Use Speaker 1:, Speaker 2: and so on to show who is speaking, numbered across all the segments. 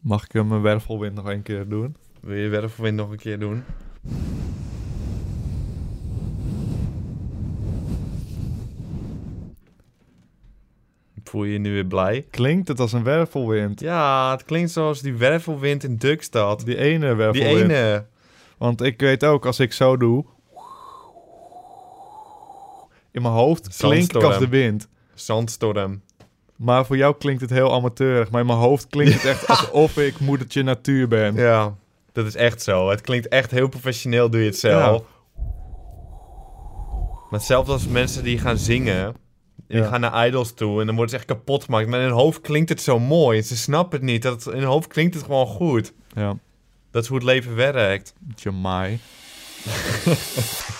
Speaker 1: Mag ik eh, mijn wervelwind nog een keer doen?
Speaker 2: Wil je wervelwind nog een keer doen? Voel je je nu weer blij?
Speaker 1: Klinkt het als een wervelwind?
Speaker 2: Ja, het klinkt zoals die wervelwind in Dukstad.
Speaker 1: Die ene
Speaker 2: Die
Speaker 1: wervelwind.
Speaker 2: ene.
Speaker 1: Want ik weet ook, als ik zo doe... In mijn hoofd klink ik als
Speaker 2: Zandstorm.
Speaker 1: de wind.
Speaker 2: Zandstorm.
Speaker 1: Maar voor jou klinkt het heel amateurig. Maar in mijn hoofd klinkt het echt alsof ik moedertje natuur ben.
Speaker 2: Ja, dat is echt zo. Het klinkt echt heel professioneel, doe je het zelf. Maar hetzelfde als mensen die gaan zingen. Die
Speaker 1: Ja.
Speaker 2: gaan naar idols toe en dan worden ze echt kapot gemaakt. Maar in hun hoofd klinkt het zo mooi. Ze snappen het niet. Dat, in hun hoofd klinkt het gewoon goed.
Speaker 1: Ja.
Speaker 2: Dat is hoe het leven werkt.
Speaker 1: Jamai.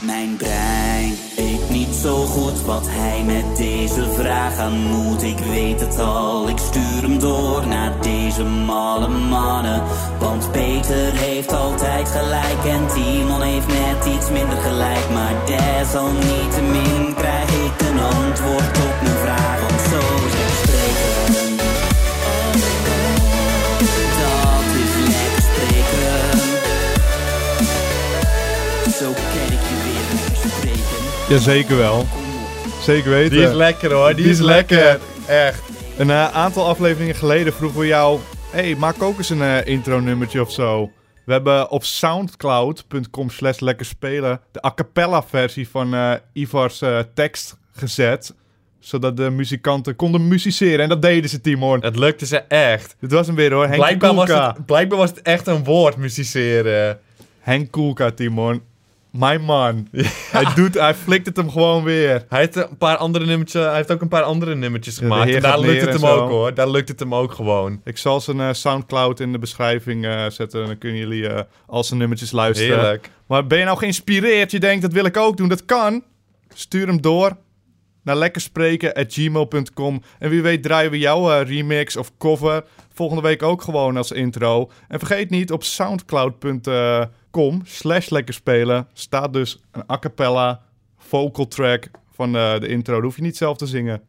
Speaker 3: Mijn brein weet niet zo goed wat hij met deze vraag aan moet. Ik weet het al, ik stuur hem door naar deze malle mannen. Want Peter heeft altijd gelijk en Timon heeft net iets minder gelijk. Maar desalniettemin krijg ik een antwoord op mijn vraag. Want zo is het spreken. Dat is lekker spreken. Zo ken ik je weer lekker spreken.
Speaker 1: Ja, zeker wel. Zeker weten.
Speaker 2: Die is lekker hoor. Die, is lekker. Echt.
Speaker 1: Een eh, aantal afleveringen geleden vroegen we jou... hey, maak ook eens een eh, intro-nummertje of zo. We hebben op soundcloud.com slash lekker spelen... de a cappella versie van eh, Ivar's eh, tekst gezet. Zodat de muzikanten konden musiceren. En dat deden ze, Timon.
Speaker 2: Het lukte ze echt.
Speaker 1: Dit was hem weer hoor. Henk
Speaker 2: Blijkbaar was,
Speaker 1: Koelka.
Speaker 2: het, blijkbaar was het echt een woord, musiceren.
Speaker 1: Henk Koelka, Timon. My man. Hij doet, hij flikt het hem gewoon weer.
Speaker 2: Hij heeft, een paar andere nummertjes, hij heeft ook een paar andere nummertjes
Speaker 1: de
Speaker 2: gemaakt.
Speaker 1: heer
Speaker 2: en daar
Speaker 1: gaat
Speaker 2: lukt
Speaker 1: leren
Speaker 2: het hem
Speaker 1: en zo.
Speaker 2: ook hoor. Daar lukt het hem ook gewoon.
Speaker 1: Ik zal zijn eh, Soundcloud in de beschrijving eh, zetten. Dan kunnen jullie eh, al zijn nummertjes luisteren.
Speaker 2: Heerlijk.
Speaker 1: Maar ben je nou geïnspireerd? Je denkt, dat wil ik ook doen. Dat kan. Stuur hem door naar lekkerspreken.gmail.com. En wie weet draaien we jouw eh, remix of cover volgende week ook gewoon als intro. En vergeet niet, op soundcloud.com slash lekkerspelen staat dus een a cappella vocal track van eh, de intro. Dat hoef je niet zelf te zingen. Het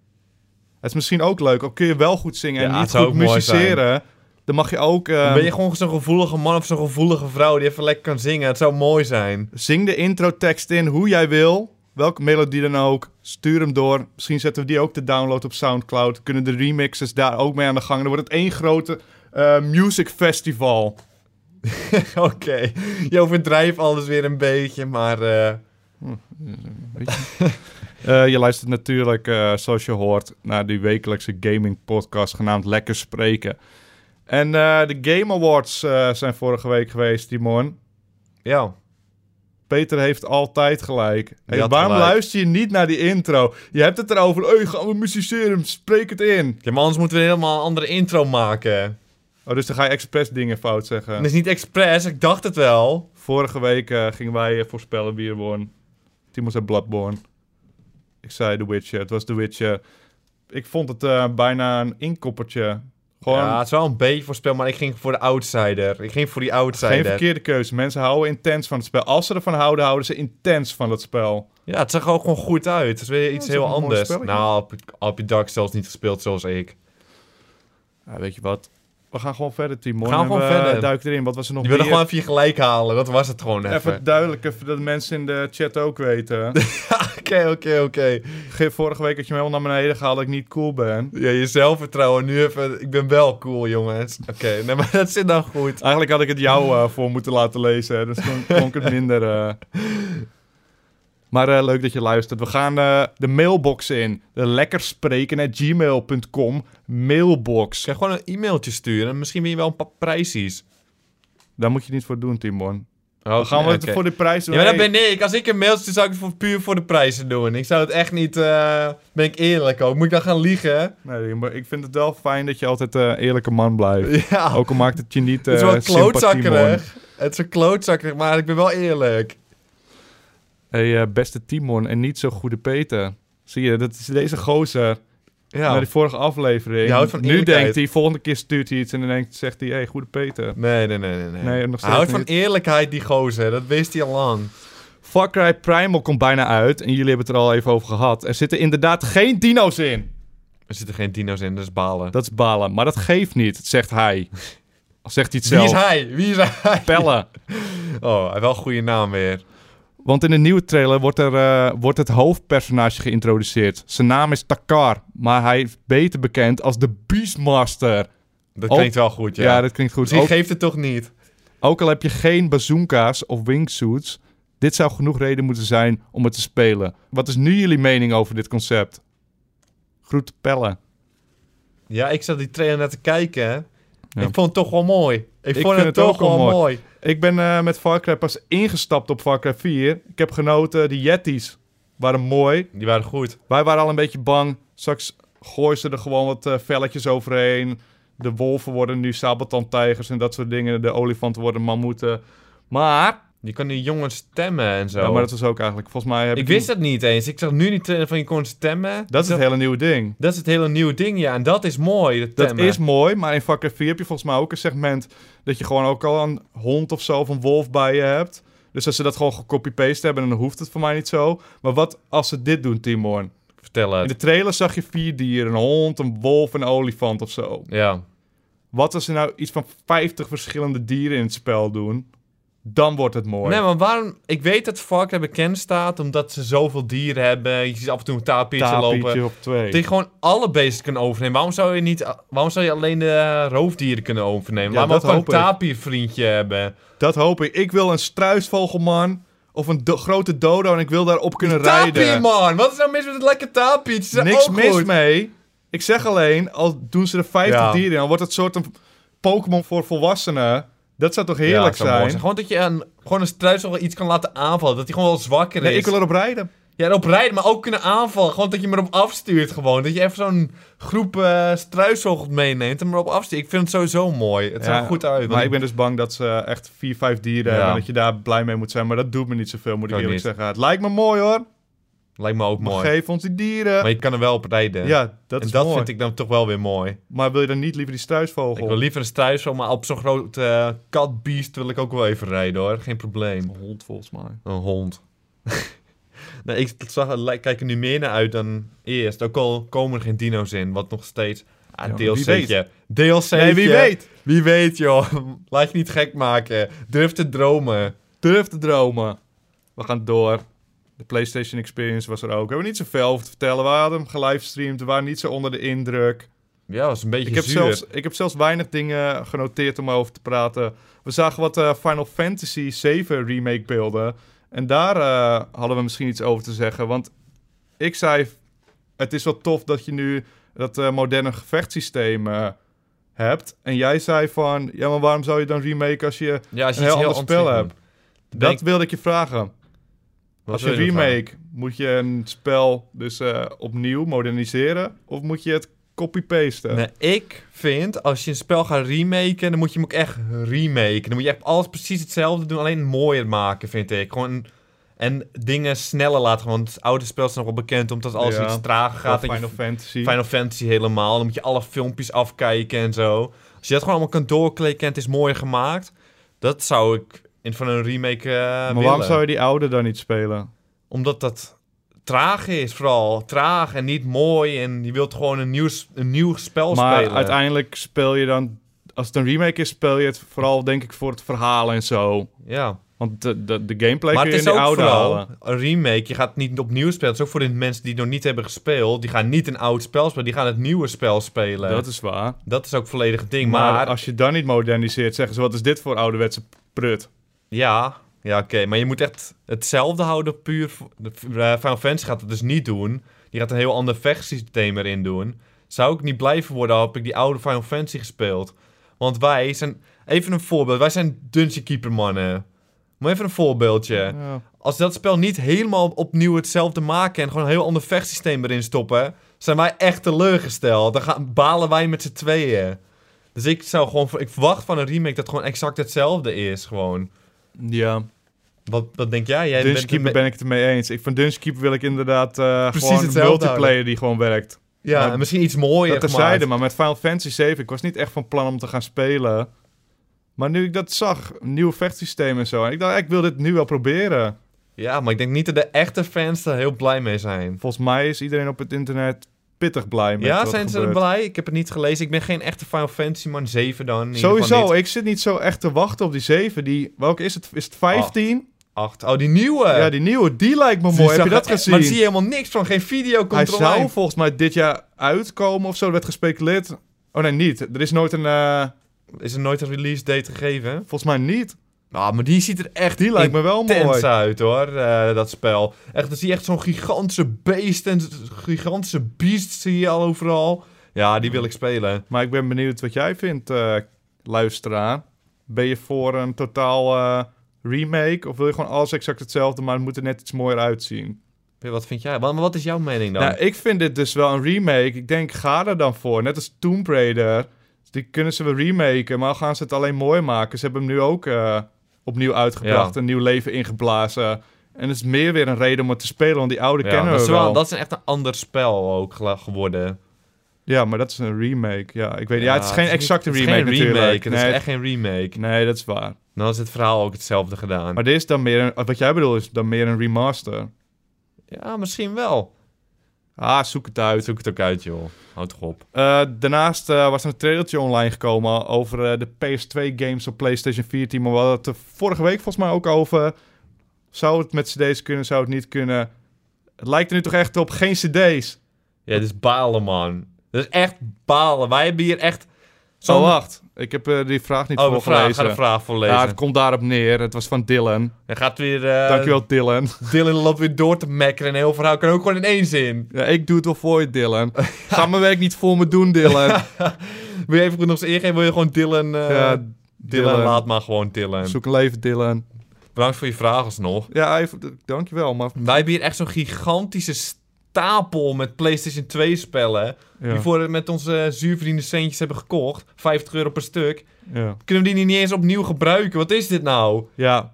Speaker 1: is misschien ook leuk, al kun je wel goed zingen en
Speaker 2: Ja, het
Speaker 1: niet
Speaker 2: zou
Speaker 1: goed
Speaker 2: ook mooi zijn.
Speaker 1: musiceren. Dan mag je ook... eh,
Speaker 2: Dan ben je gewoon zo'n gevoelige man of zo'n gevoelige vrouw die even lekker kan zingen. Het zou mooi zijn.
Speaker 1: Zing de introtekst in hoe jij wil. Welke melodie dan ook. Stuur hem door. Misschien zetten we die ook te download op Soundcloud. Kunnen de remixes daar ook mee aan de gang. Dan wordt het één grote eh, music festival.
Speaker 2: Oké, je overdrijft alles weer een beetje, maar eh,
Speaker 1: Eh, je luistert natuurlijk, eh, zoals je hoort, naar die wekelijkse gaming podcast genaamd Lekker Spreken. En eh, de Game Awards eh, zijn vorige week geweest, Timon.
Speaker 2: ja.
Speaker 1: Peter heeft altijd gelijk. Hey,
Speaker 2: had
Speaker 1: waarom
Speaker 2: gelijk.
Speaker 1: luister je niet naar die intro? Je hebt het erover. Hey, gaan we musiceren? Spreek het in.
Speaker 2: ja. Maar anders moeten we helemaal een andere intro maken.
Speaker 1: Oh, dus dan ga je expres dingen fout zeggen.
Speaker 2: Het is niet expres, ik dacht het wel.
Speaker 1: Vorige week eh, gingen wij eh, voorspellen wie er won. Timo zei Bloodborne. Ik zei The Witcher. Het was The Witcher. Ik vond het eh, bijna een inkoppertje. Gewoon
Speaker 2: Ja, het is wel een beetje voorspel, maar ik ging voor de outsider. Ik ging voor die outsider.
Speaker 1: geen verkeerde keuze. Mensen houden intens van het spel. Als ze ervan houden, houden ze intens van het spel.
Speaker 2: Ja, het zag er ook gewoon goed uit. Het is weer iets
Speaker 1: is
Speaker 2: heel
Speaker 1: ook een mooi
Speaker 2: anders.
Speaker 1: spelletje.
Speaker 2: Nou, heb ik- heb je Dark zelfs niet gespeeld zoals ik.
Speaker 1: Ja, weet je wat? We gaan gewoon verder, Timo.
Speaker 2: We gaan
Speaker 1: En
Speaker 2: gewoon
Speaker 1: we
Speaker 2: verder.
Speaker 1: duiken erin. Wat was er nog
Speaker 2: Je wilde
Speaker 1: meer?
Speaker 2: gewoon even je gelijk halen, dat was het gewoon even.
Speaker 1: Even duidelijk, even dat de mensen in de chat ook weten.
Speaker 2: Oké, oké, oké.
Speaker 1: Ge- Vorige week had je me helemaal naar beneden gehaald dat ik niet cool ben.
Speaker 2: Ja, je zelfvertrouwen nu even. Ik ben wel cool, jongens. Oké, nee, maar dat zit dan goed.
Speaker 1: Eigenlijk had ik het jou eh, voor moeten laten lezen. hè. Dus dan klonk het minder. eh. Maar eh, leuk dat je luistert. We gaan eh, de mailbox in. De lekkerspreken.gmail.com mailbox.
Speaker 2: Ik ga gewoon een e-mailtje sturen. en Misschien ben je wel een paar prijsjes.
Speaker 1: Daar moet je niet voor doen, Timon.
Speaker 2: Oh,
Speaker 1: Dan gaan we het voor de prijs doen.
Speaker 2: Ja, maar dat
Speaker 1: Hey,
Speaker 2: ben ik. Als ik een mailtje stuur, zou ik het voor, puur voor de prijzen doen. Ik zou het echt niet... eh, ben ik eerlijk ook. Moet ik dan gaan liegen?
Speaker 1: nee, maar ik vind het wel fijn dat je altijd een eerlijke man blijft.
Speaker 2: Ja.
Speaker 1: Ook al maakt het je niet
Speaker 2: het is
Speaker 1: eh,
Speaker 2: wel
Speaker 1: sympathieman.
Speaker 2: klootzakkerig. Het is wel klootzakkerig, maar ik ben wel eerlijk.
Speaker 1: Hey, eh, beste Timon en niet zo goede Peter. Zie je, dat is deze gozer.
Speaker 2: Ja.
Speaker 1: Naar die vorige aflevering.
Speaker 2: Je houdt van
Speaker 1: nu
Speaker 2: eerlijkheid.
Speaker 1: denkt hij, volgende keer stuurt hij iets en dan denkt, zegt hij, hey, goede Peter.
Speaker 2: Nee, nee, nee, nee. nee.
Speaker 1: Nee, nog
Speaker 2: hij
Speaker 1: steeds
Speaker 2: houdt van
Speaker 1: niet.
Speaker 2: eerlijkheid, die gozer. Dat wist hij al lang.
Speaker 1: Far Cry Primal komt bijna uit en jullie hebben het er al even over gehad. Er zitten inderdaad geen dino's in.
Speaker 2: Er zitten geen dino's in, dus balen.
Speaker 1: Dat is balen, maar dat geeft niet, zegt hij. Zegt hij het
Speaker 2: Wie is
Speaker 1: zelf.
Speaker 2: hij? Wie is hij?
Speaker 1: Pelle.
Speaker 2: Oh, hij heeft wel een goede naam weer.
Speaker 1: Want in de nieuwe trailer wordt, er, eh, wordt het hoofdpersonage geïntroduceerd. Zijn naam is Takar, maar hij is beter bekend als de Beastmaster.
Speaker 2: Dat
Speaker 1: Oh.
Speaker 2: klinkt wel goed, ja.
Speaker 1: Ja, dat klinkt goed.
Speaker 2: Misschien
Speaker 1: Ook,
Speaker 2: geeft het toch niet.
Speaker 1: ook al heb je geen bazooka's of wingsuits, dit zou genoeg reden moeten zijn om het te spelen. Wat is nu jullie mening over dit concept? Groet Pelle.
Speaker 2: Ja, ik zat die trailer naar te kijken. hè.
Speaker 1: Ja.
Speaker 2: Ik vond het toch wel mooi. Ik,
Speaker 1: Ik
Speaker 2: vond
Speaker 1: vind
Speaker 2: het,
Speaker 1: het
Speaker 2: toch
Speaker 1: ook wel
Speaker 2: wel mooi.
Speaker 1: mooi. Ik ben eh, met Far Cry pas ingestapt op Far Cry 4. Ik heb genoten. De Yetis waren mooi.
Speaker 2: Die waren goed.
Speaker 1: Wij waren al een beetje bang. Straks gooien ze er gewoon wat eh, velletjes overheen. De wolven worden nu sabeltandtijgers en dat soort dingen. De olifanten worden mammoeten. Maar...
Speaker 2: Je kan die jongen stemmen en zo.
Speaker 1: Ja, maar dat was ook eigenlijk... Volgens mij heb
Speaker 2: ik wist dat niet eens. Ik zag nu die trailer van je kon stemmen.
Speaker 1: Dat is het hele nieuwe ding.
Speaker 2: dat is het hele nieuwe ding, ja. En dat is mooi, dat,
Speaker 1: Dat
Speaker 2: temmen.
Speaker 1: is mooi, maar in Far Cry 4 heb je volgens mij ook een segment... dat je gewoon ook al een hond of zo of een wolf bij je hebt. Dus als ze dat gewoon gecopy-paste hebben, dan hoeft het voor mij niet zo. Maar wat als ze dit doen, Timon?
Speaker 2: Vertel
Speaker 1: In
Speaker 2: het.
Speaker 1: de trailer zag je vier dieren. Een hond, een wolf, een olifant of zo.
Speaker 2: Ja.
Speaker 1: Wat als ze nou iets van 50 verschillende dieren in het spel doen? Dan wordt het mooi.
Speaker 2: Nee, maar waarom... Ik weet dat Far Cry bekend staat omdat ze zoveel dieren hebben. Je ziet af en toe een taapiertje
Speaker 1: Tapietje
Speaker 2: lopen.
Speaker 1: op twee.
Speaker 2: Dat je gewoon alle beesten kunnen overnemen. Waarom zou je, niet, waarom zou je alleen de eh, roofdieren kunnen overnemen?
Speaker 1: Ja,
Speaker 2: Laat maar
Speaker 1: dat
Speaker 2: ook gewoon een
Speaker 1: hoop ik.
Speaker 2: tapiervriendje hebben.
Speaker 1: Dat hoop ik. Ik wil een struisvogelman of een do- grote dodo en ik wil daarop kunnen
Speaker 2: Tapier,
Speaker 1: rijden.
Speaker 2: man! Wat is nou mis met het lekker tapiertje? Ze zijn
Speaker 1: Niks
Speaker 2: ook
Speaker 1: mis
Speaker 2: goed.
Speaker 1: mee. Ik zeg alleen, al doen ze er 50
Speaker 2: Ja.
Speaker 1: dieren in, dan wordt het soort een Pokémon voor volwassenen. Dat zou toch heerlijk
Speaker 2: Ja, het zou mooi
Speaker 1: zijn?
Speaker 2: Gewoon dat je een, gewoon een struisvogel iets kan laten aanvallen. Dat hij gewoon wel zwakker
Speaker 1: Nee,
Speaker 2: is.
Speaker 1: ik wil erop rijden.
Speaker 2: Ja, erop rijden, maar ook kunnen aanvallen. Gewoon dat je me erop afstuurt gewoon. Dat je even zo'n groep eh struisvogels meeneemt en me erop afstuurt. Ik vind het sowieso mooi. Het zag
Speaker 1: Ja,
Speaker 2: er goed uit.
Speaker 1: Maar ik ben dus bang dat ze echt 4, 5 dieren
Speaker 2: Ja.
Speaker 1: hebben en dat je daar blij mee moet zijn. Maar dat doet me niet zoveel, moet ik
Speaker 2: Ook
Speaker 1: eerlijk
Speaker 2: niet.
Speaker 1: zeggen. Het lijkt me mooi hoor.
Speaker 2: Lijkt me ook
Speaker 1: Maar
Speaker 2: mooi.
Speaker 1: geef ons die dieren.
Speaker 2: Maar je kan er wel op rijden.
Speaker 1: Ja, dat
Speaker 2: en
Speaker 1: is
Speaker 2: dat
Speaker 1: mooi.
Speaker 2: vind ik dan toch wel weer mooi.
Speaker 1: Maar wil je dan niet liever die struisvogel?
Speaker 2: Ik wil liever een struisvogel, maar op zo'n groot eh, katbeest wil ik ook wel even rijden hoor. Geen probleem.
Speaker 1: een hond volgens mij.
Speaker 2: Een hond. nee, ik zag, eh, li- kijk er nu meer naar uit dan eerst. Ook al komen er geen dino's in, wat nog steeds... Ah,
Speaker 1: Ja, wie
Speaker 2: DLC'tje. DLC'tje.
Speaker 1: Nee, wie weet.
Speaker 2: Wie weet, joh. Laat je niet gek maken. Durf te dromen.
Speaker 1: Durf te dromen. We gaan door. De PlayStation Experience was er ook. We hebben niet zoveel over te vertellen. We hadden hem gelivestreamd. We waren niet zo onder de indruk.
Speaker 2: Ja, was een beetje
Speaker 1: Ik heb,
Speaker 2: zuur.
Speaker 1: zelfs, ik heb zelfs weinig dingen genoteerd om over te praten. We zagen wat eh, Final Fantasy 7 remake beelden. En daar eh, hadden we misschien iets over te zeggen. Want ik zei, het is wel tof dat je nu dat eh, moderne gevechtssysteem eh, hebt. En jij zei van, ja maar waarom zou je dan remake als je...
Speaker 2: ja, als je
Speaker 1: een
Speaker 2: iets
Speaker 1: heel ander spel
Speaker 2: ontzettend
Speaker 1: hebt.
Speaker 2: doet.
Speaker 1: Dat
Speaker 2: Denk-
Speaker 1: wilde ik je vragen.
Speaker 2: Wat
Speaker 1: als je
Speaker 2: wil
Speaker 1: een
Speaker 2: ervan?
Speaker 1: remake, moet je een spel dus eh, opnieuw moderniseren? Of moet je het copy-pasten?
Speaker 2: Nee, ik vind, als je een spel gaat remaken, dan moet je hem ook echt remaken. Dan moet je echt alles precies hetzelfde doen, alleen mooier maken, vind ik. Gewoon, en dingen sneller laten, want het oude spel is nog wel bekend, omdat alles
Speaker 1: Ja.
Speaker 2: iets trager
Speaker 1: Of
Speaker 2: gaat. en je
Speaker 1: Final Fantasy.
Speaker 2: Final Fantasy helemaal, dan moet je alle filmpjes afkijken en zo. Als je dat gewoon allemaal kan doorklikken en het is mooi gemaakt, dat zou ik in van een remake eh
Speaker 1: maar
Speaker 2: willen.
Speaker 1: waarom zou je die oude dan niet spelen?
Speaker 2: Omdat dat traag is vooral. Traag en niet mooi en je wilt gewoon een nieuw, s- een nieuw spel
Speaker 1: Maar
Speaker 2: spelen.
Speaker 1: uiteindelijk speel je dan... Als het een remake is, speel je het vooral denk ik voor het verhaal en zo.
Speaker 2: Ja.
Speaker 1: Want de, de, de gameplay
Speaker 2: Maar
Speaker 1: kun
Speaker 2: het
Speaker 1: je in
Speaker 2: is
Speaker 1: die
Speaker 2: ook
Speaker 1: oude
Speaker 2: vooral
Speaker 1: halen.
Speaker 2: een remake. Je gaat het niet opnieuw spelen. Het is ook voor de mensen die het nog niet hebben gespeeld. Die gaan niet een oud spel spelen. Die gaan het nieuwe spel spelen.
Speaker 1: Dat
Speaker 2: Dat,
Speaker 1: is waar.
Speaker 2: is ook volledig het ding.
Speaker 1: Maar,
Speaker 2: Maar,
Speaker 1: als je dan niet moderniseert, zeggen ze... Wat is dit voor ouderwetse prut?
Speaker 2: ja, ja oké. Maar je moet echt hetzelfde houden puur. voor- de- eh, Final Fantasy gaat dat dus niet doen. Die gaat een heel ander vechtsysteem erin doen. Zou ik niet blijven worden, al heb ik die oude Final Fantasy gespeeld. Want wij zijn... Even een voorbeeld. Wij zijn Dungeon Keeper mannen. Maar even een voorbeeldje.
Speaker 1: Ja.
Speaker 2: Als ze dat spel niet helemaal opnieuw hetzelfde maken en gewoon een heel ander vechtsysteem erin stoppen, zijn wij echt teleurgesteld. Dan gaan, balen wij met z'n tweeën. Dus ik zou gewoon, ik verwacht van een remake dat gewoon exact hetzelfde is. Gewoon.
Speaker 1: ja.
Speaker 2: Wat, wat denk jij? jij
Speaker 1: Dungeon
Speaker 2: bent-
Speaker 1: Dus Keeper ben ik het mee eens. Ik, van Dungeon Keeper wil ik inderdaad eh
Speaker 2: Precies
Speaker 1: gewoon een
Speaker 2: hetzelfde
Speaker 1: multiplayer die gewoon werkt.
Speaker 2: Ja, en misschien iets mooier.
Speaker 1: dat
Speaker 2: gemaakt.
Speaker 1: terzijde, maar met Final Fantasy 7, ik was niet echt van plan om te gaan spelen. Maar nu ik dat zag, een nieuw vechtsysteem en zo. En ik dacht, ik wil dit nu wel proberen.
Speaker 2: Ja, maar ik denk niet dat de echte fans er heel blij mee zijn.
Speaker 1: Volgens mij is iedereen op het internet pittig blij mee.
Speaker 2: Ja, zijn ze er blij? Ik heb het niet gelezen. Ik ben geen echte Final Fantasy man. 7 dan. in ieder geval
Speaker 1: Sowieso,
Speaker 2: niet.
Speaker 1: ik zit niet zo echt te wachten op die 7. Die, welke is het? Is het 15?
Speaker 2: 8. Oh, die nieuwe.
Speaker 1: ja, die nieuwe, die lijkt me mooi. Heb je dat gezien?
Speaker 2: Maar daar zie je helemaal niks van. Geen video
Speaker 1: Hij
Speaker 2: komt
Speaker 1: zou
Speaker 2: online.
Speaker 1: volgens mij dit jaar uitkomen of zo. Er werd gespeculeerd. Oh nee, niet. Er is nooit een... eh,
Speaker 2: Is er nooit een release date gegeven? hè?
Speaker 1: volgens mij niet.
Speaker 2: Nou, maar die ziet er echt
Speaker 1: Die lijkt me wel mooi.
Speaker 2: intens uit hoor, eh, dat spel. Echt, dan zie je echt zo'n gigantische beest en z- gigantische beest zie je al overal. Ja, die wil ik spelen.
Speaker 1: Maar ik ben benieuwd wat jij vindt, eh, luisteraar. Ben je voor een totaal eh, remake? Of wil je gewoon alles exact hetzelfde, maar het moet er net iets mooier uitzien?
Speaker 2: Wat vind jij? Wat, maar wat is jouw mening dan?
Speaker 1: Nou, ik vind dit dus wel een remake. Ik denk, ga er dan voor. Net als Tomb Raider. Dus Die kunnen ze wel remaken, maar gaan ze het alleen mooi maken. Ze hebben hem nu ook eh, opnieuw uitgebracht.
Speaker 2: Ja.
Speaker 1: Een nieuw leven ingeblazen. En het is meer weer een reden om het te spelen, want die oude
Speaker 2: ja,
Speaker 1: kennen
Speaker 2: dat,
Speaker 1: we
Speaker 2: is
Speaker 1: wel.
Speaker 2: dat is echt een ander spel ook gela- geworden.
Speaker 1: Ja, maar dat is een remake. Ja, ik weet ja, het is geen
Speaker 2: niet-
Speaker 1: exacte
Speaker 2: het is
Speaker 1: remake
Speaker 2: geen
Speaker 1: natuurlijk.
Speaker 2: Het
Speaker 1: nee,
Speaker 2: is echt geen remake.
Speaker 1: nee, dat is waar.
Speaker 2: Dan is het verhaal ook hetzelfde gedaan.
Speaker 1: Maar dit is dan meer een, wat jij bedoelt is dan meer een remaster.
Speaker 2: Ja, misschien wel.
Speaker 1: Ah, zoek het uit.
Speaker 2: Zoek het ook uit, joh. Houd toch op.
Speaker 1: Eh, daarnaast eh, was er een trailertje online gekomen over eh, de PS2-games op PlayStation 4 team. Maar we hadden het er vorige week volgens mij ook over. Zou het met CD's kunnen, zou het niet kunnen? Het lijkt er nu toch echt op geen CD's.
Speaker 2: Ja, dit is balen, man. Dit is echt balen. Wij hebben hier echt...
Speaker 1: Zo Oh, wacht. Ik heb eh, die vraag niet
Speaker 2: Oh, een vraag. Ga
Speaker 1: voorgelezen.
Speaker 2: de vraag voorlezen.
Speaker 1: ja, het komt daarop neer. Het was van Dylan.
Speaker 2: Hij gaat weer... eh,
Speaker 1: Dankjewel, Dylan.
Speaker 2: Dylan loopt weer door te mekkeren. En heel verhaal kan ook gewoon in één zin.
Speaker 1: Ja, ik doe het wel voor je, Dylan. Ga mijn werk niet voor me doen, Dylan.
Speaker 2: Wil je even goed nog eens ingeven? Wil je gewoon Dylan... eh,
Speaker 1: Ja,
Speaker 2: Dylan,
Speaker 1: Dylan.
Speaker 2: laat maar gewoon Dylan.
Speaker 1: Zoek een leven, Dylan.
Speaker 2: Bedankt voor je vraag alsnog.
Speaker 1: Ja, even, dankjewel, maar...
Speaker 2: Wij hebben hier echt zo'n gigantische stapel met PlayStation 2 spellen. Die
Speaker 1: Ja,
Speaker 2: voor met onze eh, zuurverdiende centjes hebben gekocht. 50 euro per stuk.
Speaker 1: ja.
Speaker 2: Kunnen we die niet eens opnieuw gebruiken? Wat is dit nou?
Speaker 1: ja.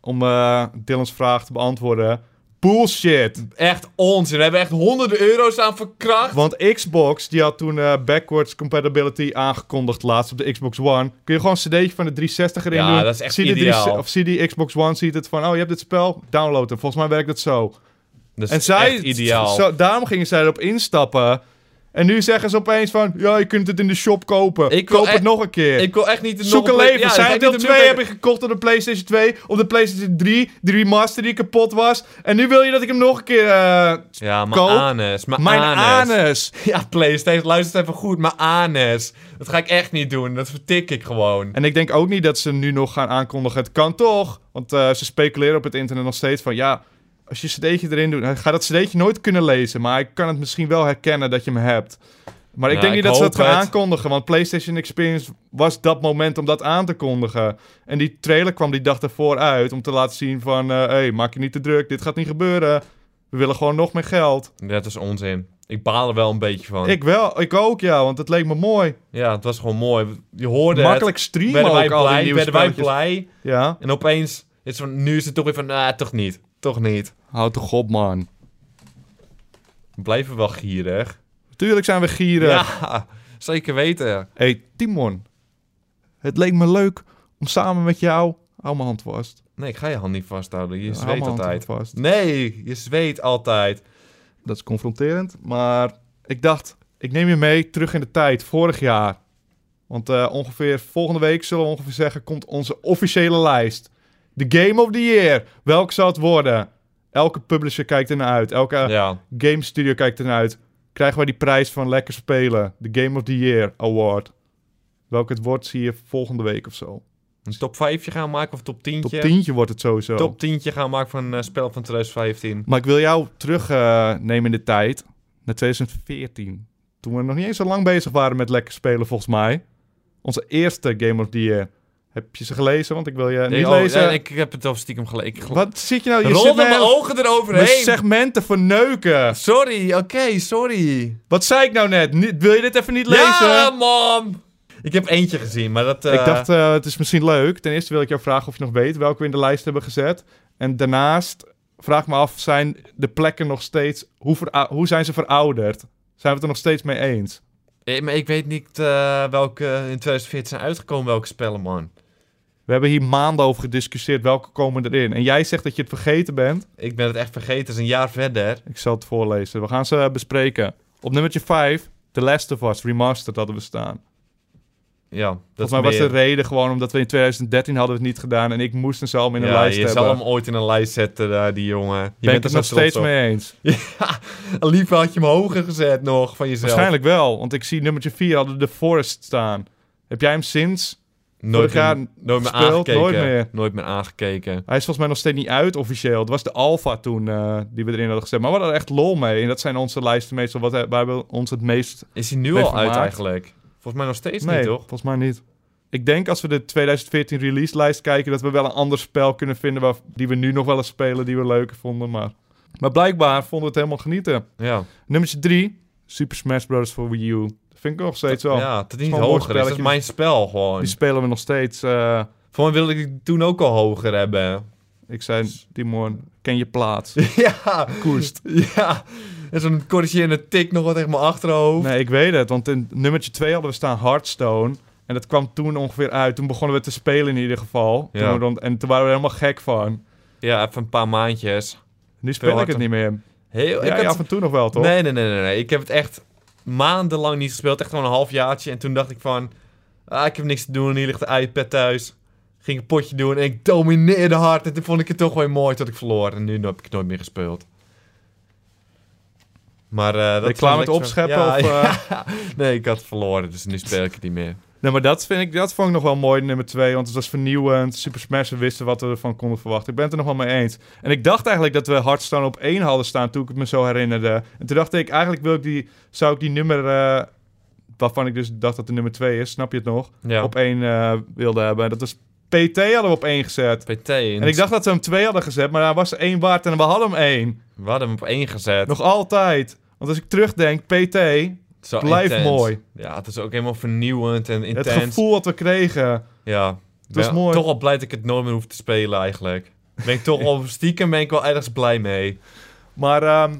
Speaker 1: om eh Dylan's vraag te beantwoorden. Bullshit!
Speaker 2: Echt onzin. We hebben echt honderden euro's aan verkracht.
Speaker 1: Want Xbox, die had toen eh, backwards compatibility aangekondigd laatst op de Xbox One. Kun je gewoon een cd'tje van de 360 erin
Speaker 2: Ja,
Speaker 1: doen?
Speaker 2: dat is echt
Speaker 1: zie die
Speaker 2: ideaal.
Speaker 1: drie- of zie die Xbox One, ziet het van, oh, je hebt dit spel, download het. Volgens mij werkt het zo.
Speaker 2: Dat is
Speaker 1: En zij,
Speaker 2: echt ideaal.
Speaker 1: Zo, daarom gingen zij erop instappen. En nu zeggen ze opeens van, ja, je kunt het in de shop kopen.
Speaker 2: Ik wil
Speaker 1: Koop het
Speaker 2: echt-
Speaker 1: nog een keer.
Speaker 2: Ik wil echt niet... een
Speaker 1: Zoek
Speaker 2: nog
Speaker 1: een leven.
Speaker 2: Ja,
Speaker 1: Zijn het
Speaker 2: dat gaat
Speaker 1: deel
Speaker 2: niet
Speaker 1: 2
Speaker 2: opnieuw-
Speaker 1: heb ik gekocht op de PlayStation 2, op de PlayStation 3, de remaster die kapot was. En nu wil je dat ik hem nog een keer. eh,
Speaker 2: Ja, mijn
Speaker 1: Koop
Speaker 2: anus. Mijn,
Speaker 1: mijn
Speaker 2: anus.
Speaker 1: anus.
Speaker 2: Ja, PlayStation, luister het even goed. Mijn anus. Dat ga ik echt niet doen. Dat vertik ik gewoon.
Speaker 1: En ik denk ook niet dat ze nu nog gaan aankondigen. Het kan toch? Want eh, ze speculeren op het internet nog steeds van ja. Als je een cd'tje erin doet, hij gaat dat cd'tje nooit kunnen lezen. Maar ik kan het misschien wel herkennen dat je hem hebt. Maar ik
Speaker 2: Ja,
Speaker 1: denk niet
Speaker 2: ik
Speaker 1: dat ze dat
Speaker 2: hoop
Speaker 1: gaan
Speaker 2: het.
Speaker 1: aankondigen. Want PlayStation Experience was dat moment om dat aan te kondigen. En die trailer kwam die dag daarvoor uit. Om te laten zien van... Hé, hey, maak je niet te druk. Dit gaat niet gebeuren. We willen gewoon nog meer geld.
Speaker 2: Dat is onzin. Ik baal er wel een beetje van.
Speaker 1: Ik wel. Ik ook, ja. Want het leek me mooi.
Speaker 2: Ja, het was gewoon mooi. Je hoorde
Speaker 1: Makkelijk
Speaker 2: het.
Speaker 1: streamen
Speaker 2: Werden wij
Speaker 1: ook al die
Speaker 2: blij?
Speaker 1: nieuwe
Speaker 2: Werden wij
Speaker 1: spelletjes.
Speaker 2: blij?
Speaker 1: Ja.
Speaker 2: En opeens is van, nu is het toch weer van, nou, toch niet. Toch niet.
Speaker 1: Houd toch op, man.
Speaker 2: We blijven wel gierig.
Speaker 1: Tuurlijk zijn we gieren.
Speaker 2: Ja, zeker weten.
Speaker 1: hey, Timon. Het leek me leuk om samen met jou... Hou mijn hand vast.
Speaker 2: Nee, ik ga je hand niet vasthouden. Je
Speaker 1: Hou mijn
Speaker 2: zweet
Speaker 1: hand
Speaker 2: altijd.
Speaker 1: vast.
Speaker 2: Nee, je zweet altijd.
Speaker 1: Dat is confronterend. Maar ik dacht, ik neem je mee terug in de tijd, vorig jaar. Want eh, ongeveer volgende week, zullen we ongeveer zeggen, komt onze officiële lijst. De Game of the Year. Welk zal het worden? Elke publisher kijkt ernaar uit. Elke
Speaker 2: Ja.
Speaker 1: game studio kijkt ernaar uit. Krijgen wij die prijs van lekker spelen? De Game of the Year Award. Welk het wordt, zie je volgende week of zo.
Speaker 2: Een top 5 gaan maken of top 10?
Speaker 1: Top 10 wordt het sowieso.
Speaker 2: top 10 gaan maken van eh spel van 2015.
Speaker 1: Maar ik wil jou terugnemen in de tijd naar 2014. Toen we nog niet eens zo lang bezig waren met lekker spelen, volgens mij. Onze eerste Game of the Year. Heb je ze gelezen? Want ik wil je niet
Speaker 2: Nee, oh,
Speaker 1: lezen.
Speaker 2: nee, ik heb het al stiekem gelezen. Ik gel-
Speaker 1: Wat zit je nou? Je
Speaker 2: rolde
Speaker 1: zit
Speaker 2: mijn
Speaker 1: nou
Speaker 2: ogen
Speaker 1: mijn
Speaker 2: eroverheen.
Speaker 1: segmenten verneuken.
Speaker 2: Sorry, oké, sorry.
Speaker 1: Wat zei ik nou net? Niet- wil je dit even niet lezen?
Speaker 2: Ja, mam! Ik heb eentje gezien, maar dat... eh,
Speaker 1: Ik dacht, eh, het is misschien leuk. Ten eerste wil ik jou vragen of je nog weet welke we in de lijst hebben gezet. En daarnaast vraag me af, zijn de plekken nog steeds... Hoe, vera- hoe zijn ze verouderd? Zijn we het er nog steeds mee eens?
Speaker 2: eh, maar ik weet niet eh, welke in 2014 zijn uitgekomen, welke spellen, man.
Speaker 1: We hebben hier maanden over gediscussieerd welke komen erin. En jij zegt dat je het vergeten bent.
Speaker 2: Ik ben het echt vergeten, het is een jaar verder.
Speaker 1: Ik zal het voorlezen. We gaan ze bespreken. Op nummertje 5, The Last of Us Remastered hadden we staan.
Speaker 2: Ja, dat
Speaker 1: Volgens
Speaker 2: is
Speaker 1: mij was
Speaker 2: meer-
Speaker 1: de reden gewoon omdat we in 2013 hadden we het niet gedaan en ik moest een zalm in een
Speaker 2: ja,
Speaker 1: lijst
Speaker 2: je
Speaker 1: hebben.
Speaker 2: zal hem ooit in een lijst zetten, daar, die jongen. Je
Speaker 1: ben ik het
Speaker 2: er zo
Speaker 1: nog
Speaker 2: trots
Speaker 1: steeds
Speaker 2: op.
Speaker 1: mee eens.
Speaker 2: Liever had je hem hoger gezet nog van jezelf.
Speaker 1: Waarschijnlijk wel, want ik zie nummertje 4 hadden we The Forest staan. Heb jij hem sinds?
Speaker 2: Nooit,
Speaker 1: vorig jaar
Speaker 2: meer- nooit meer
Speaker 1: gespeeld,
Speaker 2: aangekeken.
Speaker 1: nooit meer.
Speaker 2: Nooit meer aangekeken.
Speaker 1: Hij is volgens mij nog steeds niet uit officieel. Het was de Alpha toen eh, die we erin hadden gezet. Maar we hadden er echt lol mee. En dat zijn onze lijsten meestal wat, eh, waar we ons het meest...
Speaker 2: Is hij nu
Speaker 1: Ben
Speaker 2: al uit
Speaker 1: vermaakt.
Speaker 2: eigenlijk? Volgens mij nog steeds
Speaker 1: nee,
Speaker 2: niet, toch?
Speaker 1: volgens mij niet. Ik denk als we de 2014 release lijst kijken... dat we wel een ander spel kunnen vinden... Waar, die we nu nog wel eens spelen, die we leuker vonden. Maar, maar blijkbaar vonden we het helemaal genieten.
Speaker 2: Ja.
Speaker 1: Nummertje 3, Super Smash Bros. voor Wii U. Dat vind ik nog steeds wel.
Speaker 2: Ja, dat is niet
Speaker 1: gewoon een
Speaker 2: hoger is. Dat is
Speaker 1: woordspelletje.
Speaker 2: mijn spel gewoon.
Speaker 1: Die spelen we nog steeds. eh,
Speaker 2: Voor mij wilde ik het toen ook al hoger hebben.
Speaker 1: ik zei, Timon, ken je plaats.
Speaker 2: ja.
Speaker 1: Koerst.
Speaker 2: Ja. En zo'n corrigerende tik nog wat tegen mijn achterhoofd.
Speaker 1: Nee, ik weet het. Want in nummertje 2 hadden we staan Hearthstone. En dat kwam toen ongeveer uit. Toen begonnen we te spelen in ieder geval.
Speaker 2: Ja.
Speaker 1: Toen we dan- en toen waren we er helemaal gek van.
Speaker 2: Ja, even een paar maandjes.
Speaker 1: Nu speel ik
Speaker 2: harder.
Speaker 1: het niet meer.
Speaker 2: Heel,
Speaker 1: Ja,
Speaker 2: ik had-
Speaker 1: af en toe nog wel, toch?
Speaker 2: nee, nee, nee, nee, nee. Ik heb het echt maandenlang niet gespeeld. Echt gewoon een halfjaartje. En toen dacht ik van... Ah, ik heb niks te doen. Hier ligt de iPad thuis. Ging een potje doen en ik domineerde hard. En toen vond ik het toch wel mooi dat ik verloor. En nu heb ik het nooit meer gespeeld. Maar eh dat
Speaker 1: Ben je
Speaker 2: is
Speaker 1: klaar
Speaker 2: wel
Speaker 1: met
Speaker 2: lekker zo-
Speaker 1: opscheppen?
Speaker 2: Ja,
Speaker 1: of, eh?
Speaker 2: Nee, ik had verloren, dus nu speel ik het niet meer.
Speaker 1: Nee, maar dat, vind ik, dat vond ik nog wel mooi, nummer 2. Want het was vernieuwend. Super Smash, we wisten wat we ervan konden verwachten. Ik ben het er nog wel mee eens. En ik dacht eigenlijk dat we Hearthstone op 1 hadden staan toen ik het me zo herinnerde. En toen dacht ik, eigenlijk wil ik die, zou ik die nummer... eh, waarvan ik dus dacht dat de nummer 2 is, snap je het nog?
Speaker 2: Ja,
Speaker 1: Op 1 eh, wilde hebben. Dat was PT hadden we op 1 gezet.
Speaker 2: PT. En,
Speaker 1: En ik dacht dat we hem 2 hadden gezet, maar daar was er 1 waard en we hadden hem 1.
Speaker 2: We hadden hem op één gezet.
Speaker 1: Nog altijd. Want als ik terugdenk, PT,
Speaker 2: Zo
Speaker 1: blijft
Speaker 2: intens.
Speaker 1: mooi.
Speaker 2: Ja, het is ook helemaal vernieuwend en intens.
Speaker 1: het gevoel wat we kregen.
Speaker 2: Ja.
Speaker 1: Het was
Speaker 2: Ja,
Speaker 1: mooi.
Speaker 2: Toch wel blij dat ik het nooit meer hoef te spelen eigenlijk. Ben ik toch wel, stiekem ben ik wel ergens blij mee.
Speaker 1: Maar ehm,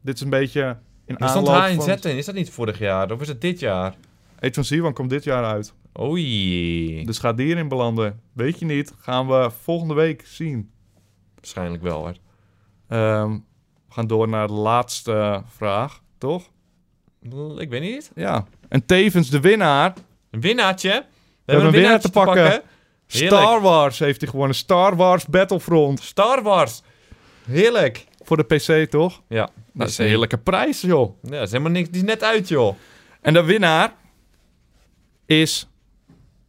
Speaker 1: dit is een beetje in
Speaker 2: Er
Speaker 1: aanloop
Speaker 2: stond HNZ
Speaker 1: van...
Speaker 2: in, is dat niet vorig jaar? Of is het dit jaar?
Speaker 1: Eet van Zivan komt dit jaar uit.
Speaker 2: Oei.
Speaker 1: Dus gaat die erin belanden. Weet je niet. Gaan we volgende week zien.
Speaker 2: Waarschijnlijk wel hoor.
Speaker 1: Ehm, we gaan door naar de laatste vraag, toch?
Speaker 2: L- Ik weet niet.
Speaker 1: Ja. En tevens de winnaar.
Speaker 2: Een winnaartje. We,
Speaker 1: hebben een winnaar te pakken.
Speaker 2: Heerlijk.
Speaker 1: Star Wars heeft hij gewonnen. Star Wars Battlefront.
Speaker 2: Star Wars. Heerlijk.
Speaker 1: Voor de PC, toch?
Speaker 2: Ja.
Speaker 1: Dat is een heerlijke prijs, joh.
Speaker 2: Ja, dat is helemaal niks. Die is net uit joh.
Speaker 1: En de winnaar is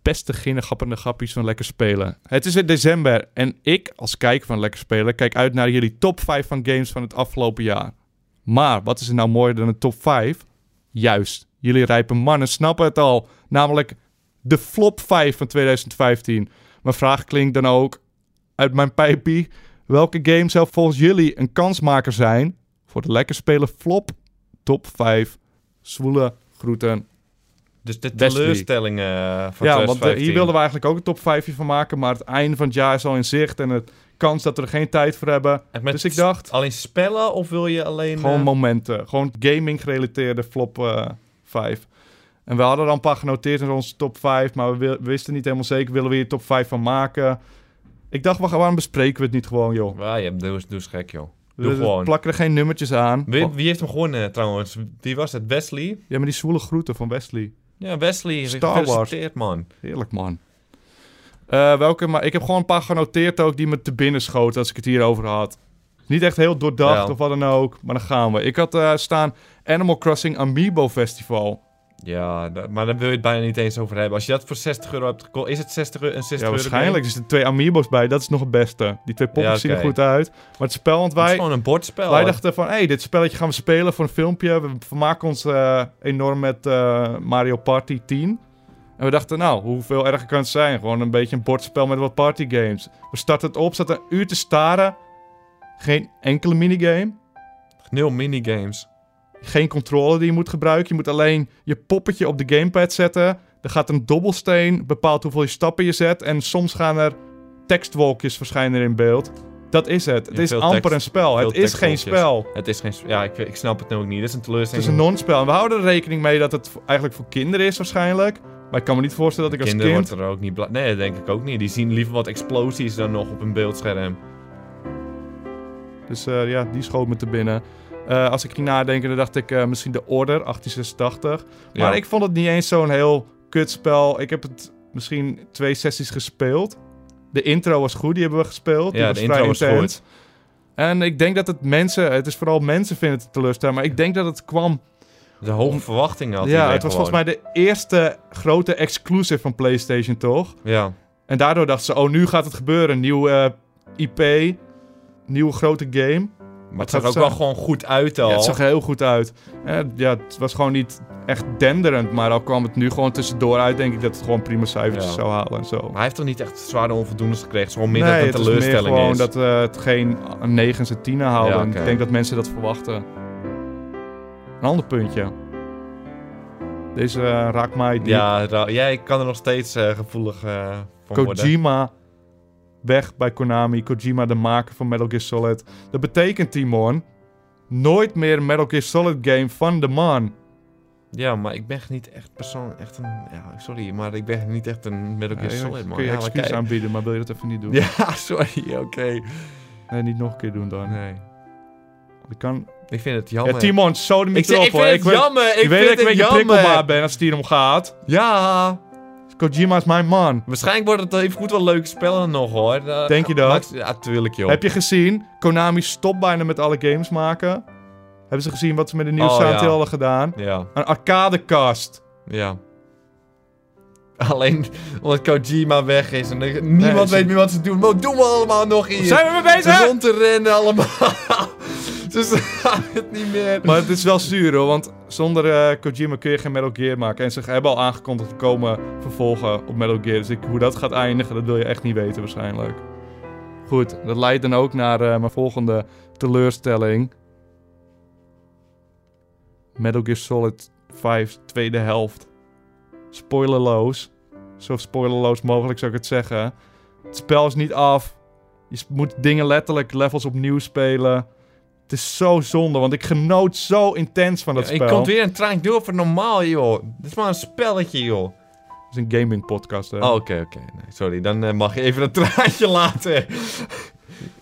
Speaker 1: beste ginnegappende grappies van Lekker Spelen. Het is in december en ik als kijker van Lekker Spelen kijk uit naar jullie top 5 van games van het afgelopen jaar. Maar wat is er nou mooier dan een top 5? Juist, jullie rijpe mannen snappen het al. Namelijk de flop 5 van 2015. Mijn vraag klinkt dan ook uit mijn pijpie. Welke game zou volgens jullie een kansmaker zijn voor de Lekker Spelen flop top 5? Zwoele groeten.
Speaker 2: Dus de
Speaker 1: Wesley.
Speaker 2: teleurstellingen van
Speaker 1: ja, want eh,
Speaker 2: 2015.
Speaker 1: hier wilden we eigenlijk ook een top 5 van maken. Maar het einde van het jaar is al in zicht. En het kans dat we er geen tijd voor hebben.
Speaker 2: Echt met
Speaker 1: dus ik dacht,
Speaker 2: Alleen spellen of wil je alleen...
Speaker 1: gewoon
Speaker 2: eh,
Speaker 1: momenten. Gewoon gaming gerelateerde flop 5. en we hadden er al een paar genoteerd in onze top 5. Maar we, wi- wisten niet helemaal zeker, willen we hier top 5 van maken? Ik dacht, wa- waarom bespreken we het niet gewoon, joh?
Speaker 2: Ah, je hebt doe, eens- doe eens gek, joh.
Speaker 1: We
Speaker 2: Doe gewoon.
Speaker 1: plakken er geen nummertjes aan.
Speaker 2: Wie, wie heeft hem gewonnen, trouwens? Die was het? Wesley?
Speaker 1: Ja, maar die zwoele groeten van Wesley.
Speaker 2: Ja, Wesley.
Speaker 1: Star Wars.
Speaker 2: Gefeliciteerd, man.
Speaker 1: Heerlijk, man. Eh, welke, maar ik heb gewoon een paar genoteerd ook die me te binnen schoten als ik het hierover had. Niet echt heel doordacht
Speaker 2: Ja.
Speaker 1: of wat dan ook, maar dan gaan we. Ik had eh, staan Animal Crossing Amiibo Festival.
Speaker 2: Ja, da- maar daar wil je het bijna niet eens over hebben. Als je dat voor 60 euro hebt gekocht... Is het 60 euro? Een 60
Speaker 1: Ja,
Speaker 2: euro
Speaker 1: waarschijnlijk zitten er twee Amiibo's bij, dat is nog het beste. Die twee poppen
Speaker 2: Ja,
Speaker 1: zien er
Speaker 2: oké.
Speaker 1: goed uit. Maar het spel, want
Speaker 2: Het is
Speaker 1: wij,
Speaker 2: gewoon een bordspel.
Speaker 1: wij dachten van, hé, hey, dit spelletje gaan we spelen voor een filmpje. We vermaken ons eh, enorm met eh, Mario Party 10. En we dachten, nou, hoeveel erger kan het zijn? Gewoon een beetje een bordspel met wat partygames. We starten het op, zaten een uur te staren. Geen enkele minigame.
Speaker 2: Nul minigames.
Speaker 1: Geen controle die je moet gebruiken. Je moet alleen je poppetje op de gamepad zetten. Er gaat een dobbelsteen, bepaalt hoeveel je stappen je zet. En soms gaan er tekstwolkjes verschijnen in beeld. Dat is het. Het
Speaker 2: Ja,
Speaker 1: is
Speaker 2: veel
Speaker 1: amper
Speaker 2: tekst-
Speaker 1: een spel.
Speaker 2: veel
Speaker 1: Het is geen
Speaker 2: tekstwolkjes.
Speaker 1: spel.
Speaker 2: Het is geen... sp- Ja, ik, ik snap het nu ook niet. Het is een
Speaker 1: Het
Speaker 2: teleurstelling.
Speaker 1: is een non-spel. En we houden er rekening mee dat het v- eigenlijk voor kinderen is waarschijnlijk. Maar ik kan me niet voorstellen dat ik als
Speaker 2: Kinderen
Speaker 1: kind...
Speaker 2: worden er ook niet... bla- Nee, dat denk ik ook niet. Die zien liever wat explosies dan nog op een beeldscherm.
Speaker 1: Dus eh, ja, die schoot me te binnen. Eh, als ik ging nadenken, dan dacht ik eh, misschien de Order 1886. Maar
Speaker 2: Ja.
Speaker 1: ik vond het niet eens zo'n heel kutspel. Ik heb het misschien twee sessies gespeeld. De intro was goed, die hebben we gespeeld. Die
Speaker 2: Ja, de intro
Speaker 1: vrij
Speaker 2: was
Speaker 1: intens.
Speaker 2: goed.
Speaker 1: En ik denk dat het mensen, het is vooral mensen vinden het teleurstellend, maar ik denk dat het kwam.
Speaker 2: De hoge verwachtingen had
Speaker 1: ja,
Speaker 2: iedereen
Speaker 1: het was
Speaker 2: gewoon.
Speaker 1: volgens mij de eerste grote exclusive van PlayStation, toch?
Speaker 2: Ja,
Speaker 1: En daardoor dachten ze, oh, nu gaat het gebeuren. Nieuw eh, IP, nieuwe grote game.
Speaker 2: maar het
Speaker 1: zou
Speaker 2: zag
Speaker 1: het
Speaker 2: ook wel
Speaker 1: zijn?
Speaker 2: gewoon goed uit al.
Speaker 1: Ja, het zag er heel goed uit. Eh, ja, het was gewoon niet echt denderend, maar al kwam het nu gewoon tussendoor uit, denk ik dat het gewoon prima cijfertjes
Speaker 2: Ja.
Speaker 1: zou halen en zo.
Speaker 2: Maar hij heeft toch niet echt zware onvoldoendes gekregen? Het is gewoon meer
Speaker 1: nee,
Speaker 2: dat
Speaker 1: het
Speaker 2: het
Speaker 1: is
Speaker 2: een
Speaker 1: meer
Speaker 2: teleurstelling
Speaker 1: gewoon
Speaker 2: is.
Speaker 1: dat eh, het geen 9 en 10 houden.
Speaker 2: Ja,
Speaker 1: En
Speaker 2: oké.
Speaker 1: Ik denk dat mensen dat verwachten. Een ander puntje. Deze eh, raakt mij diep.
Speaker 2: Ja, ra- ja, ik kan er nog steeds eh, gevoelig eh, van worden.
Speaker 1: Kojima weg bij Konami. Kojima, de maker van Metal Gear Solid. Dat betekent, Timon, nooit meer een Metal Gear Solid game van de man.
Speaker 2: Ja, maar ik ben niet echt persoon... Echt een, ja, sorry, maar ik ben niet echt een Metal Gear
Speaker 1: Eh,
Speaker 2: Solid man.
Speaker 1: kun je
Speaker 2: ja, maar
Speaker 1: excuus
Speaker 2: kijk.
Speaker 1: aanbieden, maar wil je dat even niet doen?
Speaker 2: Ja, sorry, oké.
Speaker 1: Nee, niet nog een keer doen dan.
Speaker 2: Nee.
Speaker 1: Dat kan...
Speaker 2: Ik vind het
Speaker 1: Ja,
Speaker 2: jammer.
Speaker 1: Timon, sodem
Speaker 2: ik,
Speaker 1: niet
Speaker 2: zeg,
Speaker 1: op
Speaker 2: ik vind
Speaker 1: hoor.
Speaker 2: het
Speaker 1: weet-
Speaker 2: jammer,
Speaker 1: Je
Speaker 2: ik
Speaker 1: weet dat ik
Speaker 2: vind
Speaker 1: een
Speaker 2: het
Speaker 1: beetje prikkelbaar
Speaker 2: jammer.
Speaker 1: ben als het hier om gaat.
Speaker 2: Ja,
Speaker 1: Kojima is mijn man.
Speaker 2: waarschijnlijk wordt het even goed wel leuke spellen nog hoor. Eh,
Speaker 1: Denk je dat?
Speaker 2: Max- Ja, tuurlijk joh.
Speaker 1: Heb je gezien? Konami stopt bijna met alle games maken. Hebben ze gezien wat ze met de nieuwe
Speaker 2: Oh,
Speaker 1: Silent
Speaker 2: ja.
Speaker 1: Hill hadden gedaan?
Speaker 2: Ja,
Speaker 1: Een arcadekast.
Speaker 2: ja. Alleen omdat Kojima weg is en er- niemand
Speaker 1: Nee, ze-
Speaker 2: weet meer wat ze doen. Wat doen we allemaal nog hier?
Speaker 1: Zijn we mee bezig?
Speaker 2: Rond te rennen allemaal. dus gaan het niet meer.
Speaker 1: Maar het is wel zuur hoor, want zonder eh, Kojima kun je geen Metal Gear maken. En ze hebben al aangekondigd dat er komen vervolgen op Metal Gear. Dus ik, hoe dat gaat eindigen, dat wil je echt niet weten waarschijnlijk. Goed, dat leidt dan ook naar eh, mijn volgende teleurstelling. Metal Gear Solid 5, tweede helft. Spoilerloos. Zo spoilerloos mogelijk zou ik het zeggen. Het spel is niet af. Je s- moet dingen letterlijk levels opnieuw spelen. Het is zo zonde, want ik genoot zo intens van dat
Speaker 2: Ja,
Speaker 1: spel.
Speaker 2: Ik kom weer een traantje door voor normaal, joh. Dit is maar een spelletje, joh.
Speaker 1: Het is een gaming podcast. Hè?
Speaker 2: Oh, oké, oké. Nee, sorry, dan eh, mag je even dat traantje laten.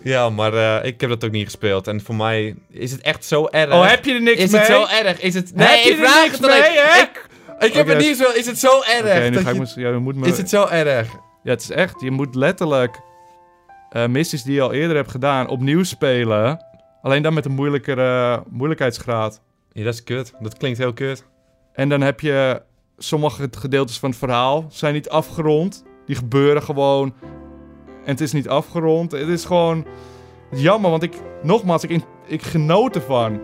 Speaker 2: ja, maar eh, ik heb dat ook niet gespeeld. En voor mij is het echt zo erg.
Speaker 1: Oh, heb je er niks
Speaker 2: is
Speaker 1: mee?
Speaker 2: het zo erg? Is het...
Speaker 1: Heb je
Speaker 2: Nee, ik
Speaker 1: er
Speaker 2: vraag
Speaker 1: niks
Speaker 2: het alleen.
Speaker 1: mee, hè?
Speaker 2: Ik, ik heb
Speaker 1: Oké. dus-
Speaker 2: het niet zo... Is het zo erg?
Speaker 1: Oké, nu
Speaker 2: dat
Speaker 1: ga ik
Speaker 2: je-
Speaker 1: mis- ja, je moet me...
Speaker 2: Is het zo erg?
Speaker 1: Ja, het is echt. Je moet letterlijk eh, missies die je al eerder hebt gedaan opnieuw spelen. Alleen dan met een moeilijkere moeilijkheidsgraad.
Speaker 2: Ja, dat is kut. Dat klinkt heel kut.
Speaker 1: En dan heb je sommige gedeeltes van het verhaal zijn niet afgerond. Die gebeuren gewoon. En het is niet afgerond. Het is gewoon jammer, want ik, nogmaals, ik, in- ik genoot ervan.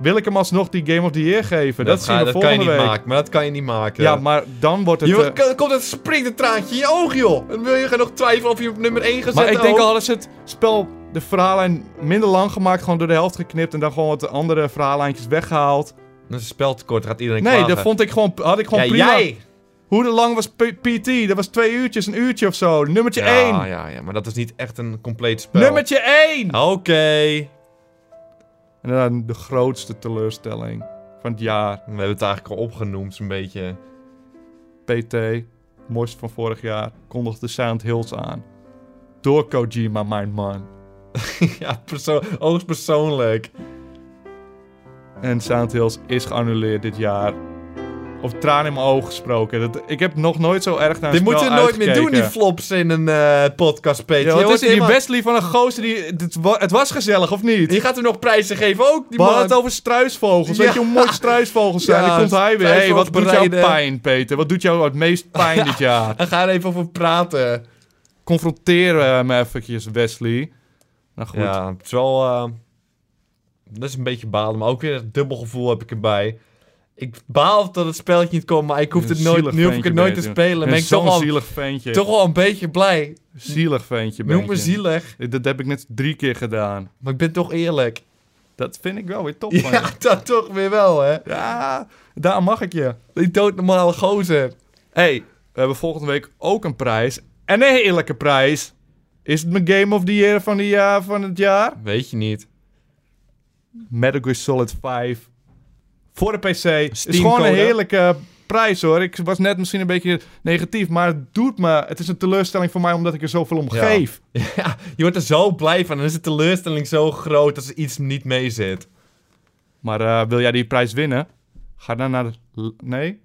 Speaker 1: Wil ik hem alsnog die Game of the Year geven? Dat, zien
Speaker 2: ga-
Speaker 1: we
Speaker 2: dat kan je
Speaker 1: volgende
Speaker 2: niet
Speaker 1: week.
Speaker 2: maken. Maar dat kan je niet maken.
Speaker 1: Ja, maar dan wordt het...
Speaker 2: Je-
Speaker 1: eh,
Speaker 2: er komt een springt een traantje in je oog, joh. Dan wil je gaan nog twijfelen of je op nummer 1 gaat
Speaker 1: Maar
Speaker 2: zetten
Speaker 1: ik denk
Speaker 2: ook.
Speaker 1: al is het spel, de verhaallijn minder lang gemaakt, gewoon door de helft geknipt en dan gewoon wat andere verhaallijntjes weggehaald.
Speaker 2: Dat is een speltekort, gaat iedereen
Speaker 1: nee,
Speaker 2: klagen.
Speaker 1: dat vond ik gewoon, had ik gewoon
Speaker 2: ja,
Speaker 1: prima.
Speaker 2: jij!
Speaker 1: Hoe lang was P- PT? Dat was twee uurtjes, een uurtje of zo. Nummertje
Speaker 2: Ja,
Speaker 1: één.
Speaker 2: ja, ja, maar dat is niet echt een compleet spel.
Speaker 1: Nummertje één!
Speaker 2: Oké.
Speaker 1: En dan de grootste teleurstelling van het jaar.
Speaker 2: We hebben het eigenlijk al opgenoemd, zo'n beetje.
Speaker 1: PT, mooiste van vorig jaar, kondigde Silent Hills aan. Door Kojima, mijn man.
Speaker 2: ja, perso hoogst persoonlijk.
Speaker 1: En Silent Hills is geannuleerd dit jaar. Of traan in mijn ogen gesproken. Dat, ik heb nog nooit zo erg naar een
Speaker 2: Dit
Speaker 1: spel
Speaker 2: moeten we nooit meer doen, die
Speaker 1: uitgekeken.
Speaker 2: flops in een eh, podcast, Peter.
Speaker 1: Ja, wat
Speaker 2: Je
Speaker 1: is
Speaker 2: wordt
Speaker 1: die
Speaker 2: helemaal-
Speaker 1: Wesley van een gozer die... Het, wa- het was gezellig, of niet?
Speaker 2: Die gaat hem nog prijzen geven ook, die
Speaker 1: we hadden
Speaker 2: man.
Speaker 1: het over struisvogels.
Speaker 2: Ja.
Speaker 1: Weet je hoe mooi struisvogels zijn?
Speaker 2: Ja,
Speaker 1: Dan komt hij weer. Hé, hey, wat doet jou
Speaker 2: struisvogels
Speaker 1: pijn, Peter? Wat doet jou het meest pijn dit jaar?
Speaker 2: En ga er even over praten.
Speaker 1: Confronteer hem
Speaker 2: ehm,
Speaker 1: eventjes, Wesley. Nou goed.
Speaker 2: Ja, het is wel... eh, dat is een beetje balen, maar ook weer een dubbel gevoel heb ik erbij. Ik baal dat het spelletje niet komt, maar ik hoef
Speaker 1: Een
Speaker 2: het nooit,
Speaker 1: zielig
Speaker 2: nu hoef ik
Speaker 1: ventje
Speaker 2: het nooit te
Speaker 1: ben je,
Speaker 2: spelen. Ben
Speaker 1: Een
Speaker 2: ik toch
Speaker 1: zo'n
Speaker 2: al,
Speaker 1: zielig ventje.
Speaker 2: toch al een beetje blij.
Speaker 1: Zielig ventje ben
Speaker 2: Noem me
Speaker 1: je.
Speaker 2: zielig,
Speaker 1: Dat heb ik net drie keer gedaan.
Speaker 2: maar ik ben toch eerlijk.
Speaker 1: Dat vind ik wel weer top van je.
Speaker 2: Ja, dat toch weer wel, hè.
Speaker 1: Ja, daar mag ik je.
Speaker 2: Die doodnormale gozer.
Speaker 1: hey, we hebben volgende week ook een prijs. En een heerlijke prijs. Is het mijn Game of the Year van, de jaar, van het jaar?
Speaker 2: Weet je niet.
Speaker 1: Metal Gear Solid 5. Voor de PC. is
Speaker 2: Steamcode,
Speaker 1: gewoon een
Speaker 2: hè?
Speaker 1: heerlijke prijs hoor. Ik was net misschien een beetje negatief, maar het doet me. Het is een teleurstelling voor mij omdat ik er zoveel om
Speaker 2: Ja.
Speaker 1: geef.
Speaker 2: Ja, je wordt er zo blij van. Dan is de teleurstelling zo groot als er iets niet mee zit.
Speaker 1: Maar eh, wil jij die prijs winnen? Ga dan naar... de- Nee?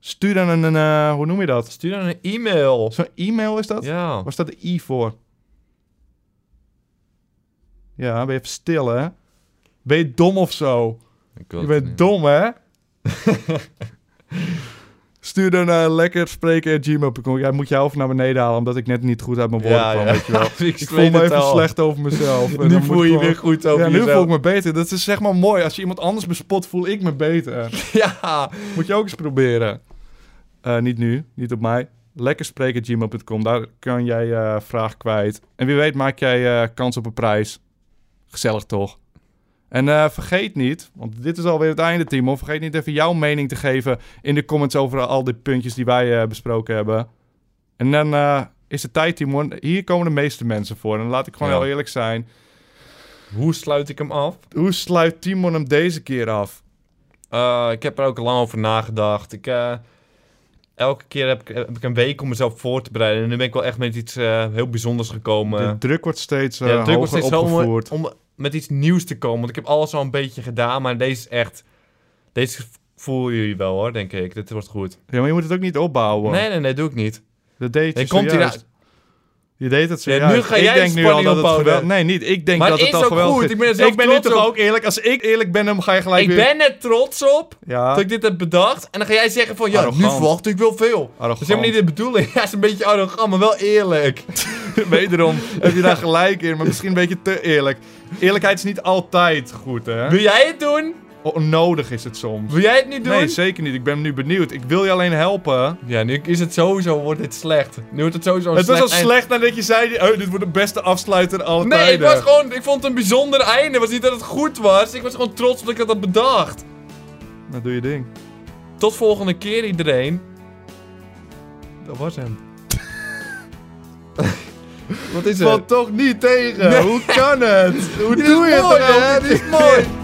Speaker 1: Stuur dan een... eh, hoe noem je dat?
Speaker 2: Stuur dan een e-mail.
Speaker 1: Zo'n e-mail is dat?
Speaker 2: Ja.
Speaker 1: Waar staat de I voor? Ja, ben je even stil, hè? Ben je dom of zo?
Speaker 2: Ik wil
Speaker 1: Je
Speaker 2: het
Speaker 1: bent
Speaker 2: niet.
Speaker 1: dom, hè? Stuur dan naar lekker spreken gmail.com. Ja, moet jou over naar beneden halen, omdat ik net niet goed uit mijn woorden
Speaker 2: Ja,
Speaker 1: kwam,
Speaker 2: ja.
Speaker 1: weet je wel.
Speaker 2: ik
Speaker 1: Ik voel
Speaker 2: weet
Speaker 1: me
Speaker 2: het
Speaker 1: even
Speaker 2: al.
Speaker 1: slecht over mezelf. En dan
Speaker 2: Nu
Speaker 1: moet ik
Speaker 2: voel je je
Speaker 1: gewoon-
Speaker 2: weer goed over
Speaker 1: Ja, nu voel
Speaker 2: jezelf.
Speaker 1: ik me beter. Dat is zeg maar mooi. Als je iemand anders bespot, voel ik me beter.
Speaker 2: Ja.
Speaker 1: Moet je ook eens proberen. Eh, niet nu, niet op mij. Lekker spreken gmail.com. Daar kan jij eh, vraag kwijt. En wie weet maak jij eh, kans op een prijs. Gezellig toch? En eh, vergeet niet, want dit is alweer het einde, Timo. Vergeet niet even jouw mening te geven in de comments over al die puntjes die wij eh, besproken hebben. En dan eh, is het tijd, Timo. Hier komen de meeste mensen voor. En laat ik gewoon
Speaker 2: Ja.
Speaker 1: heel eerlijk zijn.
Speaker 2: Hoe sluit ik hem af?
Speaker 1: Hoe sluit Timon hem deze keer af?
Speaker 2: Eh, ik heb er ook lang over nagedacht. Ik, eh, elke keer heb ik, heb ik een week om mezelf voor te bereiden. En nu ben ik wel echt met iets eh, heel bijzonders gekomen.
Speaker 1: de druk wordt steeds eh
Speaker 2: Ja, de druk wordt
Speaker 1: hoger
Speaker 2: steeds hoger
Speaker 1: opgevoerd.
Speaker 2: om, om met iets nieuws te komen. Want ik heb alles al een beetje gedaan, maar deze is echt... Deze voelen jullie wel hoor, denk ik. Dit wordt goed.
Speaker 1: Ja, maar je moet het ook niet opbouwen.
Speaker 2: Nee, nee, nee, doe ik niet.
Speaker 1: Dat deed je
Speaker 2: Hey, komt
Speaker 1: zojuist.
Speaker 2: hier-
Speaker 1: Je deed het
Speaker 2: Ja, nu
Speaker 1: zojuist.
Speaker 2: ga jij
Speaker 1: ik denk
Speaker 2: de
Speaker 1: nu al
Speaker 2: spanning
Speaker 1: dat het
Speaker 2: opbouwen.
Speaker 1: geweldig... Nee, niet. Ik denk
Speaker 2: Maar
Speaker 1: dat
Speaker 2: het
Speaker 1: het,
Speaker 2: is
Speaker 1: al
Speaker 2: ook
Speaker 1: geweldig
Speaker 2: goed.
Speaker 1: is.
Speaker 2: Ik ben er zelf
Speaker 1: ben nu
Speaker 2: trots
Speaker 1: toch
Speaker 2: op.
Speaker 1: ook eerlijk. Als ik eerlijk ben, dan ga je gelijk
Speaker 2: ik
Speaker 1: weer...
Speaker 2: ben er trots op
Speaker 1: Ja,
Speaker 2: dat ik dit heb bedacht. En dan ga jij zeggen van, ja, nu
Speaker 1: Arrogant.
Speaker 2: verwacht ik wel veel. Dat is
Speaker 1: arrogant.
Speaker 2: helemaal niet de bedoeling. Ja, is een beetje arrogant, maar wel eerlijk.
Speaker 1: Wederom heb je daar gelijk in, maar misschien een beetje te eerlijk. Eerlijkheid is niet altijd goed, hè?
Speaker 2: Wil jij het doen?
Speaker 1: Onnodig is het soms.
Speaker 2: Wil jij het nu doen?
Speaker 1: Nee, zeker niet. Ik ben nu benieuwd. Ik wil je alleen helpen.
Speaker 2: Ja, nu is het sowieso, wordt dit slecht. Nu wordt het sowieso een
Speaker 1: het was al
Speaker 2: eind.
Speaker 1: slecht nadat je zei, oh, dit wordt de beste afsluiter aller
Speaker 2: Nee,
Speaker 1: tijden.
Speaker 2: ik was gewoon, ik vond het een bijzonder einde. Het was niet dat het goed was. Ik was gewoon trots dat ik dat had bedacht.
Speaker 1: Nou, doe je ding.
Speaker 2: Tot volgende keer iedereen. Dat was hem. Wat is
Speaker 1: Valt toch niet tegen?
Speaker 2: Nee.
Speaker 1: Hoe kan het? Hoe doe je
Speaker 2: mooi,
Speaker 1: het?
Speaker 2: jongen,
Speaker 1: hè?
Speaker 2: dit is mooi.